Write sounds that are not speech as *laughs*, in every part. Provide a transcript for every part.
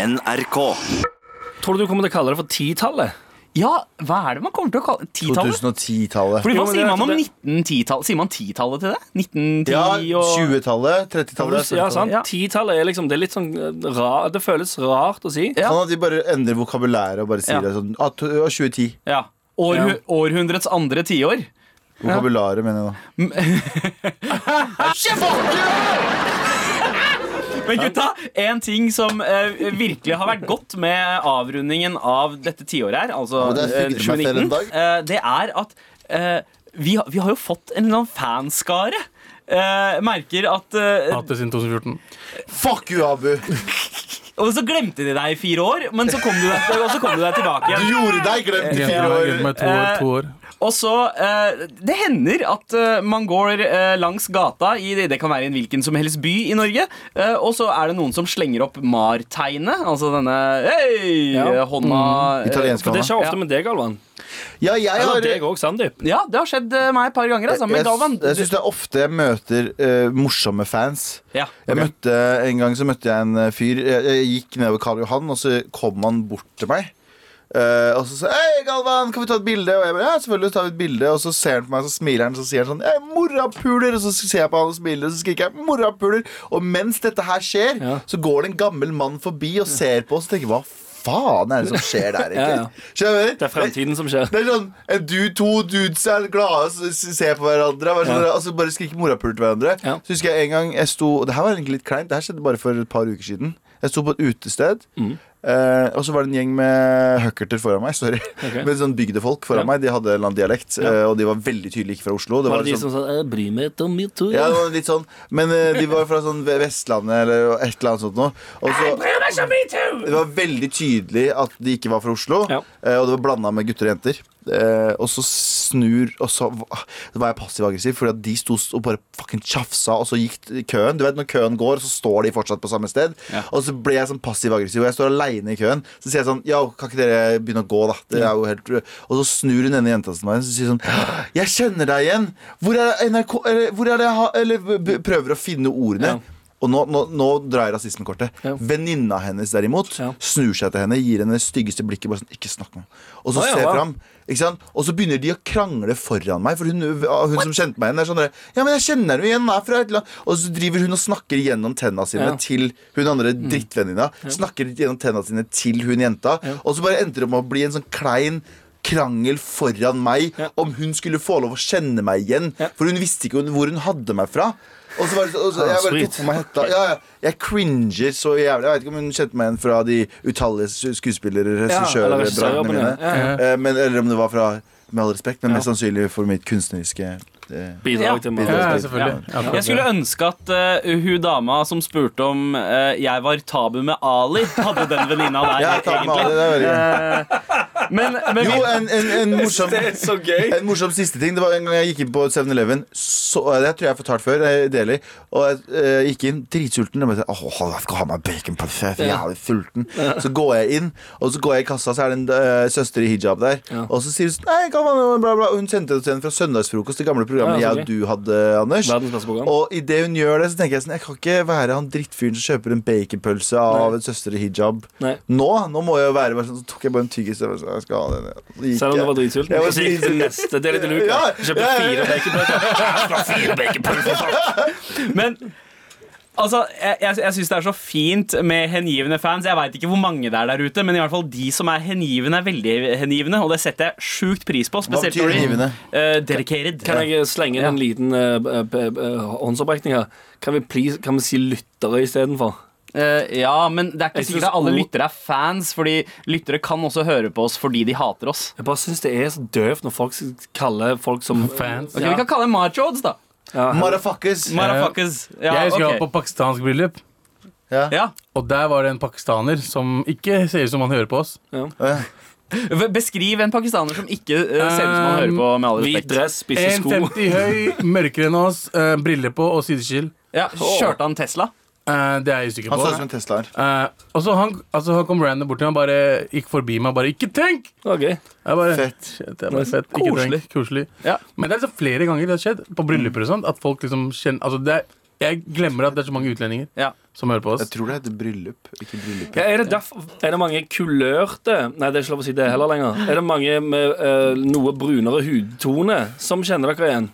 NRK. Tror du du kommer til å kalle det for titallet? Ja, hva er det man kommer til å kalle Titallet? 2010-tallet. Fordi Jo, Hva men det sier er man om det- 1910-tallet? Sier man 10-tallet til det? 1910 Ja, og 20-tallet, Tror du- 30-tallet. Ja, sant? 40-tallet. Ja. Titallet er liksom Det er litt sånn eh, ra, Det føles rart å si. Ja. Sånn at de bare endrer vokabulæret og bare sier Ja. det sånn. Ah, to- ja, 2010. ja. Århu- Ja. Århundrets andre tiår. Vokabularet, mener jeg da. Men gutta, en ting som eh, virkelig har vært godt med avrundingen av dette tiåret her, altså Ja, men det eh, fikk dere meg selv en 2019, eh, det er at eh, vi, har- vi har jo fått en eller annen fanskare. Eh, merker at eh, Hatt det siden 2014. Fuck you, Abu! Og så glemte de deg i fire år, men så kom du deg, og så kom du deg tilbake Du igjen. gjorde deg glemt i fire Gledet Eh, år. meg to år. To år. Og så, eh, Det hender at eh, man går eh, langs gata i det kan være i en hvilken som helst by i Norge, eh, og så er det noen som slenger opp MAR-tegnet, altså denne hei, Ja. hånda eh, Italiensk For det skjer ofte Ja. med deg, Galvan. Ja, jeg Eller har deg òg, Sandeep. Ja, det har skjedd eh, meg et par ganger. Altså. Men Jeg, Galvan jeg syns det er ofte jeg møter eh, morsomme fans. Ja. Jeg møtte, En gang så møtte jeg en eh, fyr. Jeg, jeg gikk nedover Karl Johan, og så kom han bort til meg. Eh, og så sa Hei, Galvan, kan vi ta et bilde? Og jeg bare, ja, selvfølgelig tar vi et bilde Og så ser han på meg, så smiler han, så sier han sånn Hei, morapuler! Og så ser jeg på han og smiler, og så skriker jeg morapuler! Og mens dette her skjer, Ja. så går det en gammel mann forbi og ser på oss og tenker hva faen er det som skjer der, Ja, ja. egentlig? Skjønner du? Det er fremtiden som skjer. Det er sånn, en du to dudes er glade s- s- ser på hverandre og sånn, Ja. altså bare skriker morapuler til hverandre. Ja. Så husker jeg en gang jeg sto og Det her var egentlig litt kleint. Det her skjedde bare for et par uker siden. Jeg sto på et utested, Mm. eh, og så var det en gjeng med huckerter foran meg. *laughs* Sorry. Men sånn bygdefolk foran Ja. meg. De hadde en eller annen dialekt, eh, og de var veldig tydelig ikke fra Oslo. Det Var var, det de sånn, som sa 'Jeg bryr meg ikke om metoo'? ja, det var litt sånn Men eh, de var fra sånn Vestlandet eller et eller annet sånt noe. Og så, det var veldig tydelig at de ikke var fra Oslo, Ja. eh, og det var blanda med gutter og jenter. Eh, og så snur Og så va- var jeg passiv-aggressiv, fordi at de sto s- og bare fucking tjafsa, og så gikk t- køen. Du vet når køen går, så står de fortsatt på samme sted. Og så ble jeg sånn passiv-aggressiv, og jeg står aleine i køen. Så sier jeg sånn Ja, kan ikke dere begynne å gå, da? Det er jo helt Og så snur hun ene jenta til meg og sier sånn Jeg kjenner deg igjen! Hvor er NRK Eller, hvor er det jeg har Eller b- b- prøver å finne ordene. Ja. Og nå, nå, nå drar jeg rasismekortet. Ja. Venninna hennes derimot Ja. snur seg til henne, gir henne det styggeste blikket. Bare sånn, ikke snakk med henne. Og så Å, ja, ser jeg wow. fram, ikke sant? Og så begynner de å krangle foran meg. For hun, hun som kjente meg igjen, er sånn der, Ja, men jeg kjenner henne igjen. hun Er fra et eller annet. Og så driver hun og snakker gjennom tenna sine Ja. Mm. til hun andre drittvenninna. Snakker gjennom tenna sine til hun jenta. Og så bare endte det med å bli en sånn klein krangel foran meg Ja. om hun skulle få lov å kjenne meg igjen. Ja. Ah, For hun visste ikke hvor hun hadde meg fra. Og så var det, så- og så, jeg bare sweet. tok på meg hetta. Ja, ja. Jeg cringer så jævlig. Jeg vet ikke om hun kjente meg igjen fra de utallige sk- skuespillere, eller regissørbransjene regissørjobbene, mine. ja, ja. Eh, Men, eller om det var fra Med all respekt, men mest sannsynlig for mitt kunstneriske eh, Ja. Bidrag til Ja, meg. ja, selvfølgelig. Akkurat Jeg skulle ønske at eh, hun dama som spurte om eh, jeg var tabu med Ali, hadde den venninna der. Ja, takk, Mali. Det er veldig gøy. Men, men Jo, en, en, en *laughs* morsom så gøy. en morsom siste ting. Det var En gang jeg gikk inn på 7-Eleven så- eh, Det tror jeg jeg har fortalt før. Jeg deler, og jeg eh, gikk inn dritsulten. Og jeg, bare, Åh, jeg skal ha meg bacon på jeg er jævlig sulten. Så går jeg inn, og så går jeg i kassa, så er det en eh, søster i hijab der. Og så sier hun sånn, Nei, hva faen, bla, bla. Og Hun sendte det til en fra søndagsfrokost, det gamle programmet jeg Ja, og du hadde, Anders. Verdens beste program. Og idet hun gjør det, så tenker jeg sånn Jeg kan ikke være han drittfyren som kjøper en baconpølse av Nei. en søster i hijab. Nei. Nå nå må jeg jo være bare sånn, Så tok jeg bare en tyggis. og jeg bare sånn, Jeg skal ha den. ja. Så gikk Selv om du jeg. var dritsulten. Jeg var Så gikk du til dritsulten. neste del i Deluca. Ja, Kjøpte ja, ja. fire baconpølser. Jævla fire baconpølser. Men altså, jeg, jeg, jeg syns det er så fint med hengivne fans. Jeg veit ikke hvor mange det er der ute, men i hvert fall de som er hengivne, er veldig hengivne. Og det setter jeg sjukt pris på. Spesielt betyr når de- hengivne? Eh, dedicated. Kan jeg slenge inn en liten eh, b- b- b- håndsopprekning her? Kan vi, please, kan vi si lyttere istedenfor? Eh, ja, men det er ikke Jeg sikkert synes at alle o- lyttere er fans, fordi lyttere kan også høre på oss fordi de hater oss. Jeg bare syns det er så døvt når folk kaller folk som Fans. Ok, Ja. Vi kan kalle dem Marchods, da. Motherfuckers. Motherfuckers. Eh, Ja, jeg husker jeg ok. var på pakistansk bryllup, ja. og der var det en pakistaner som ikke ser ut som han hører på oss. V- Beskriv en pakistaner som ikke eh, ser ut som han hører på, med all Hvit respekt. dress, spisse sko. 1,50 høy, mørkere enn oss, eh, briller på og sideskill. Ja, kjørte han Tesla? Eh, det er jeg usikker Han på. så ut som en Tesla her. Eh, og så han, altså, han kom random bort til meg, bare gikk forbi meg og bare 'ikke tenk'! Ok, Jeg bare, Fett. Shit, jeg bare, fett. Ikke Koselig. tenk. Koselig. Ja. Men det er liksom flere ganger det har skjedd, på brylluper og sånt, at folk liksom kjenner Altså, det er Jeg glemmer at det er så mange utlendinger Ja. som hører på oss. Jeg tror det heter bryllup, ikke bryllup. Ja, er, det derfor, er det mange kulørte Nei, det er ikke lov å si det heller lenger. Er det mange med eh, noe brunere hudtone som kjenner dere igjen?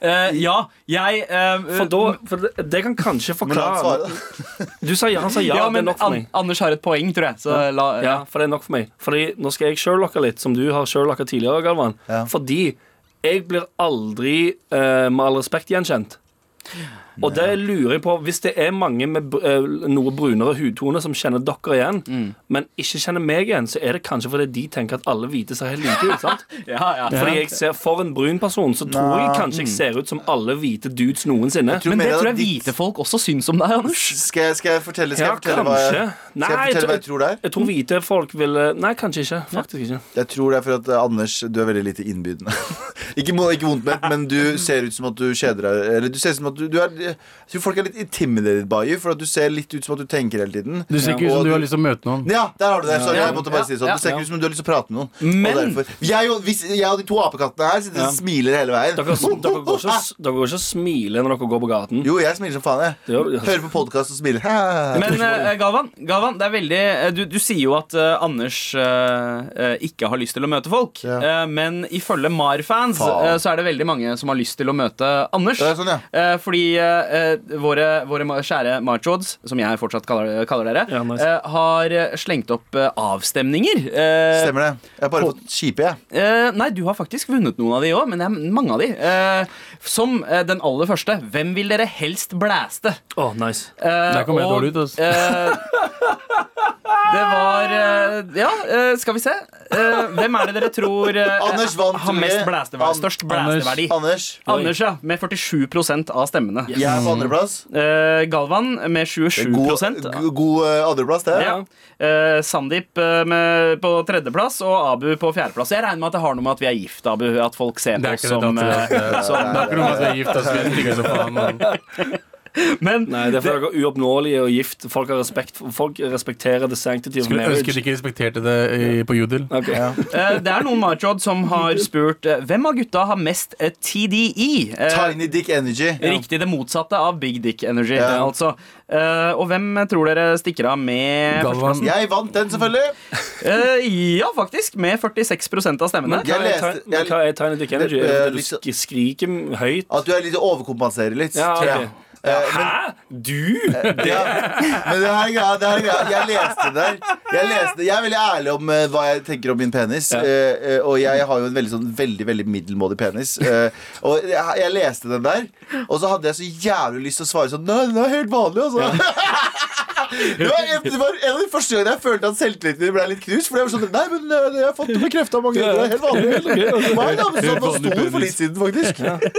Eh, ja, jeg eh, For, da, for det, det kan kanskje Men la han forklare svare, da. Du sa ja, han sa ja, ja, det men er nok for An meg. Anders har et poeng, tror jeg. Så la, Ja, for det er nok for meg. Fordi nå skal jeg sherlocke litt, som du har sherlocka tidligere, Galvan. Ja. Fordi jeg blir aldri, eh, med all respekt, gjenkjent. Og det lurer jeg på Hvis det er mange med br- eh, noe brunere hudtone som kjenner dere igjen, Mm. men ikke kjenner meg igjen, så er det kanskje fordi de tenker at alle hvite ser helt like ut. *laughs* sant? ja, ja. Fordi jeg ser for en brun person, så tror jeg kanskje jeg ser ut som alle hvite dudes noensinne. Jeg tror Men det mer at tror jeg ditt- hvite folk også syns om deg, Anders. Skal jeg, skal jeg fortelle, skal Ja, jeg fortelle, hva, jeg, kanskje. skal jeg Nei, jeg fortelle hva jeg tror- tror det er? Jeg tror hvite folk ville Nei, kanskje ikke. Faktisk ikke. Jeg tror det er for at eh, Anders, du er veldig lite innbydende. *laughs* ikke, mo- ikke vondt ment, men du ser ut som at du kjeder deg. Eller du ser ut som at du, du er Jeg tror folk er litt intimidated by you, for at du ser litt ut som at du tenker hele tiden. Du ser ikke ut Og som du du- har lyst til å møte noen. Ja, der har du det. Sorry, Ja. jeg måtte bare si det sånn. Ja, Du ser ja. ikke ut som du har lyst til å prate med noen. Men- og derfor, jeg, og, hvis, jeg og de to apekattene her sitter og smiler hele veien. Dere, dere, går ikke, og- dere går ikke og smiler når dere går på gaten. Jo, jeg smiler som faen, jeg. Det gjør du. Hører på podkast og smiler. Men eh, Galvan, Galvan det er veldig, eh, du, du sier jo at eh, Anders eh, eh, ikke har lyst til å møte folk. Ja. Eh, men ifølge MAR-fans Faen. eh, så er det veldig mange som har lyst til å møte Anders. Ja, sånn, ja. Eh, fordi eh, eh, våre, våre ma- kjære Marchods, som jeg fortsatt kaller, kaller dere, Ja, nice. eh, har eh, slengt opp eh, avstemninger. Eh, Stemmer det. Jeg har bare på- fått kjipe, jeg. Eh, nei, du har faktisk vunnet noen av de òg, men det er mange av de. Eh, som eh, den aller første. Hvem vil dere helst blæste? Å, nice. Eh, Der kom jeg og, dårlig ut, ass. eh, det var eh, Ja, eh, skal vi se. Eh, hvem er det dere tror eh, Anders vant, har tror mest jeg. blæsteverdi? An- Størst blæsteverdi? Anders. Anders, ja. Med 47 av stemmene. jeg er på andreplass. Eh, Galvan med 27 God, go- god eh, andreplass, det. ja. Eh, Sandeep eh, med, på tredjeplass og Abu på fjerdeplass. Jeg regner med at det har noe med at vi er gift, Abu. At folk ser Det på er oss ikke det som datteren. eh, som- Det er ikke noe med at vi er gift, ass. Vi er digge som faen, mann. eh, Men Nei, det er fordi dere er uoppnåelige og gift. Folk, har respekt, folk respekterer the sanctity of Skulle ønske de marriage. ikke respekterte det i- på Jodel. Ok. eh, det er noen Marchod som har spurt eh, hvem av gutta har mest eh, TDI. Eh, Tiny Dick Energy. Riktig det motsatte av Big Dick Energy. Ja. altså Eh, Og hvem tror dere stikker av med Galvan, Jeg vant den, selvfølgelig. Eh, Ja, faktisk. Med 46 av stemmene. Men hva Jeg eh, liksom- er, leste- Ti- men hva er Tiny Dick Energy? Er det fordi du Litt- sk- skriker høyt? At du er litt overkompenserer litt. Ja, tror ok. jeg. Eh, men, Eh, Hæ? Du? ja, men det her er greia. Det her er greia. Jeg leste det der. Jeg, leste, jeg er veldig ærlig om eh, hva jeg tenker om min penis. eh, eh, og jeg har jo en veldig, sånn, veldig veldig middelmådig penis. eh, og jeg, jeg leste den der, og så hadde jeg så jævlig lyst til å svare sånn Nei, den er helt vanlig, altså. *laughs* Det var, en, det var en av de første gangene jeg følte at selvtilliten min ble litt knust. For jeg var sånn, nei, men eh, jeg har fått det bekreftet av mange ganger. Det er helt vanlig. Helt ok. Det var en dame som var stor for litt siden, faktisk.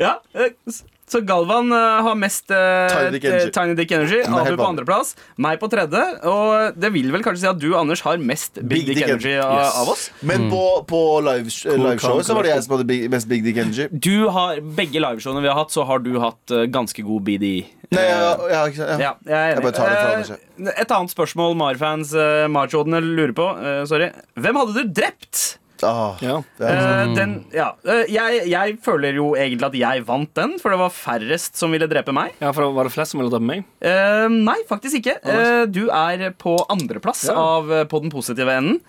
Ja, eh, s- Så Galvan eh, har mest eh, Tiny Dick eh, Energy. Tiny Dick Energy. er Abu helt på vanlig. andreplass, meg på tredje. Og eh, det vil vel kanskje si at du, Anders, har mest Big, Dick, Energy av, Yes. av oss. Men på, på live, liveshowet så var det jeg som hadde big, mest Big Dick Energy. Du har, Begge liveshowene vi har hatt, så har du hatt eh, ganske god BDI. Nei, ja, ja, ikke sant, ja. Ja, jeg er Jeg bare tar det fra enig. Anders, Eh, Et annet spørsmål Mar-fans eh, Mar-chodene lurer på. eh, sorry. Hvem hadde du drept? Ah, Ja. det er- Eh, den, ja. eh, jeg, jeg føler jo egentlig at jeg vant den, for det var færrest som ville drepe meg. ja, for da var det flest som ville drepe meg? Eh, nei, faktisk ikke. nice. Eh, du er på andreplass Ja. av eh, på den positive enden.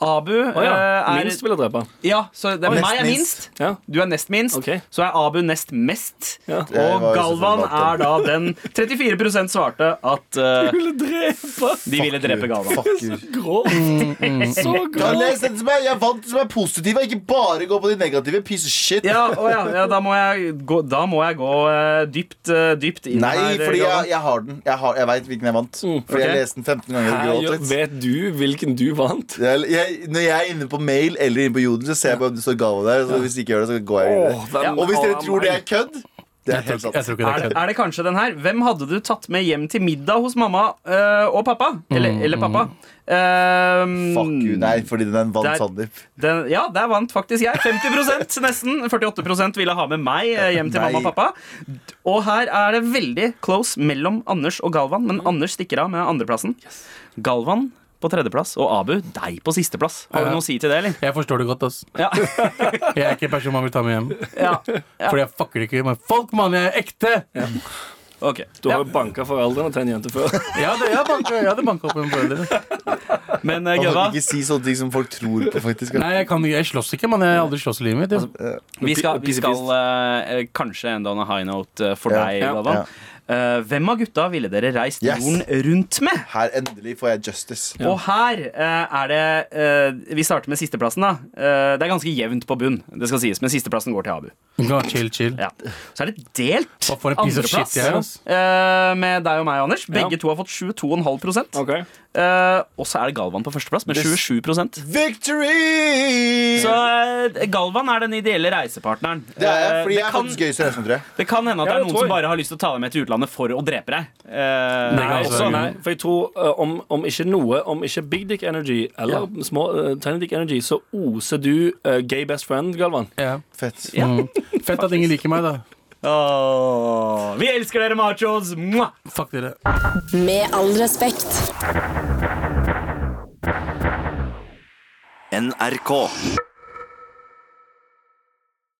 Abu Å ja. eh, er Minst ville drepe. Ja, så det, Nest meg er minst. minst. Ja. Du er nest minst. Ok. Så er Abu nest mest. Ja. Det var jo Og selvfølgelig Galvan er valgt, da den 34 svarte at *laughs* eh, Ville drepe? de ville drepe Galvan. Fuck you. Grovt. Så Ja, grovt. les den som er, Mm. jeg vant den som er positiv, og ikke bare gå på de negative. Piece of shit. Ja, å ja, ja da, må jeg gå, da må jeg gå eh, dypt, eh, dypt inn Nei, her. fordi jeg, Galvan. jeg har den. Jeg, har, jeg veit hvilken jeg vant. Fordi ok. jeg leste den 15 ganger og Her, gråt litt. vet du hvilken du vant? Jeg, jeg, når jeg er inne på mail eller inne på Jodel, så ser jeg på om det står gave der. Så hvis de ikke gjør det, så går jeg Åh, videre. den- Og hvis dere Åh, tror det nei. er kødd, det er jeg helt sant. tror, jeg tror ikke det Er er det, kødd. er det kanskje den her? Hvem hadde du tatt med hjem til middag hos mamma eh, og pappa? Eller, eller pappa. Ehm, Fuck you. Nei, fordi den vant Der- Sandeep. Den, ja, der vant faktisk jeg. 50 *laughs* nesten. 48 ville ha med meg eh, hjem til Nei. mamma og pappa. Og her er det veldig close mellom Anders og Galvan, men Anders stikker av med andreplassen. Galvan på på tredjeplass, og Abu, deg på sisteplass. Har du Ja. noe å si til det, eller? Jeg forstår det godt, ass. Ja. Jeg er ikke en person man vil ta med hjem. ja. Fordi jeg fucker ikke med folk, mann. Jeg er ekte! Ok. Du Ja. har jo banka foreldrene til en jente før. Jeg hadde, jeg banket- jeg hadde banka opp en forelder. Men eh, Man Gøva, kan ikke si sånne ting som folk tror på, faktisk. Nei, jeg, kan, ikke- jeg slåss ikke, mann. Jeg har aldri slåss i livet mitt. jeg. vi skal, vi Pissepist. skal eh, eh, kanskje enda on a high note eh, for Ja, deg, ja, Galvan. Eh, hvem av gutta ville dere reist Yes. jorden rundt med? Her endelig får jeg justice. Og her eh, er det eh, Vi starter med sisteplassen, da. Eh, det er ganske jevnt på bunn, det skal sies, men sisteplassen går til Abu. Ja, chill, chill. Ja. Så er det delt Hva for en piece of shit jeg er, ass. eh, med deg og meg, Anders. Begge Ja. to har fått 22,5 Ok Eh, Og så er det Galvan på førsteplass med 27 Så Victory! eh, Galvan er den ideelle reisepartneren. det er jeg, Eh, fordi det jeg er kan- faktisk gøyest i resten, tror jeg. Det kan hende at Ja, det er det noen tror som jeg. bare har lyst til å ta deg med til utlandet for å drepe deg. Eh, Nei, altså, også, Nei, for jeg tror eh, om, om ikke noe, om ikke Big Dick Energy eller små eh, Tiny Dick Energy, så oser du eh, gay best friend, Galvan. Ja. Fett. Mm. Fett at ingen liker meg, da. Åh, vi elsker dere, machos! Mwah! Fuck dere. Med all respekt. NRK.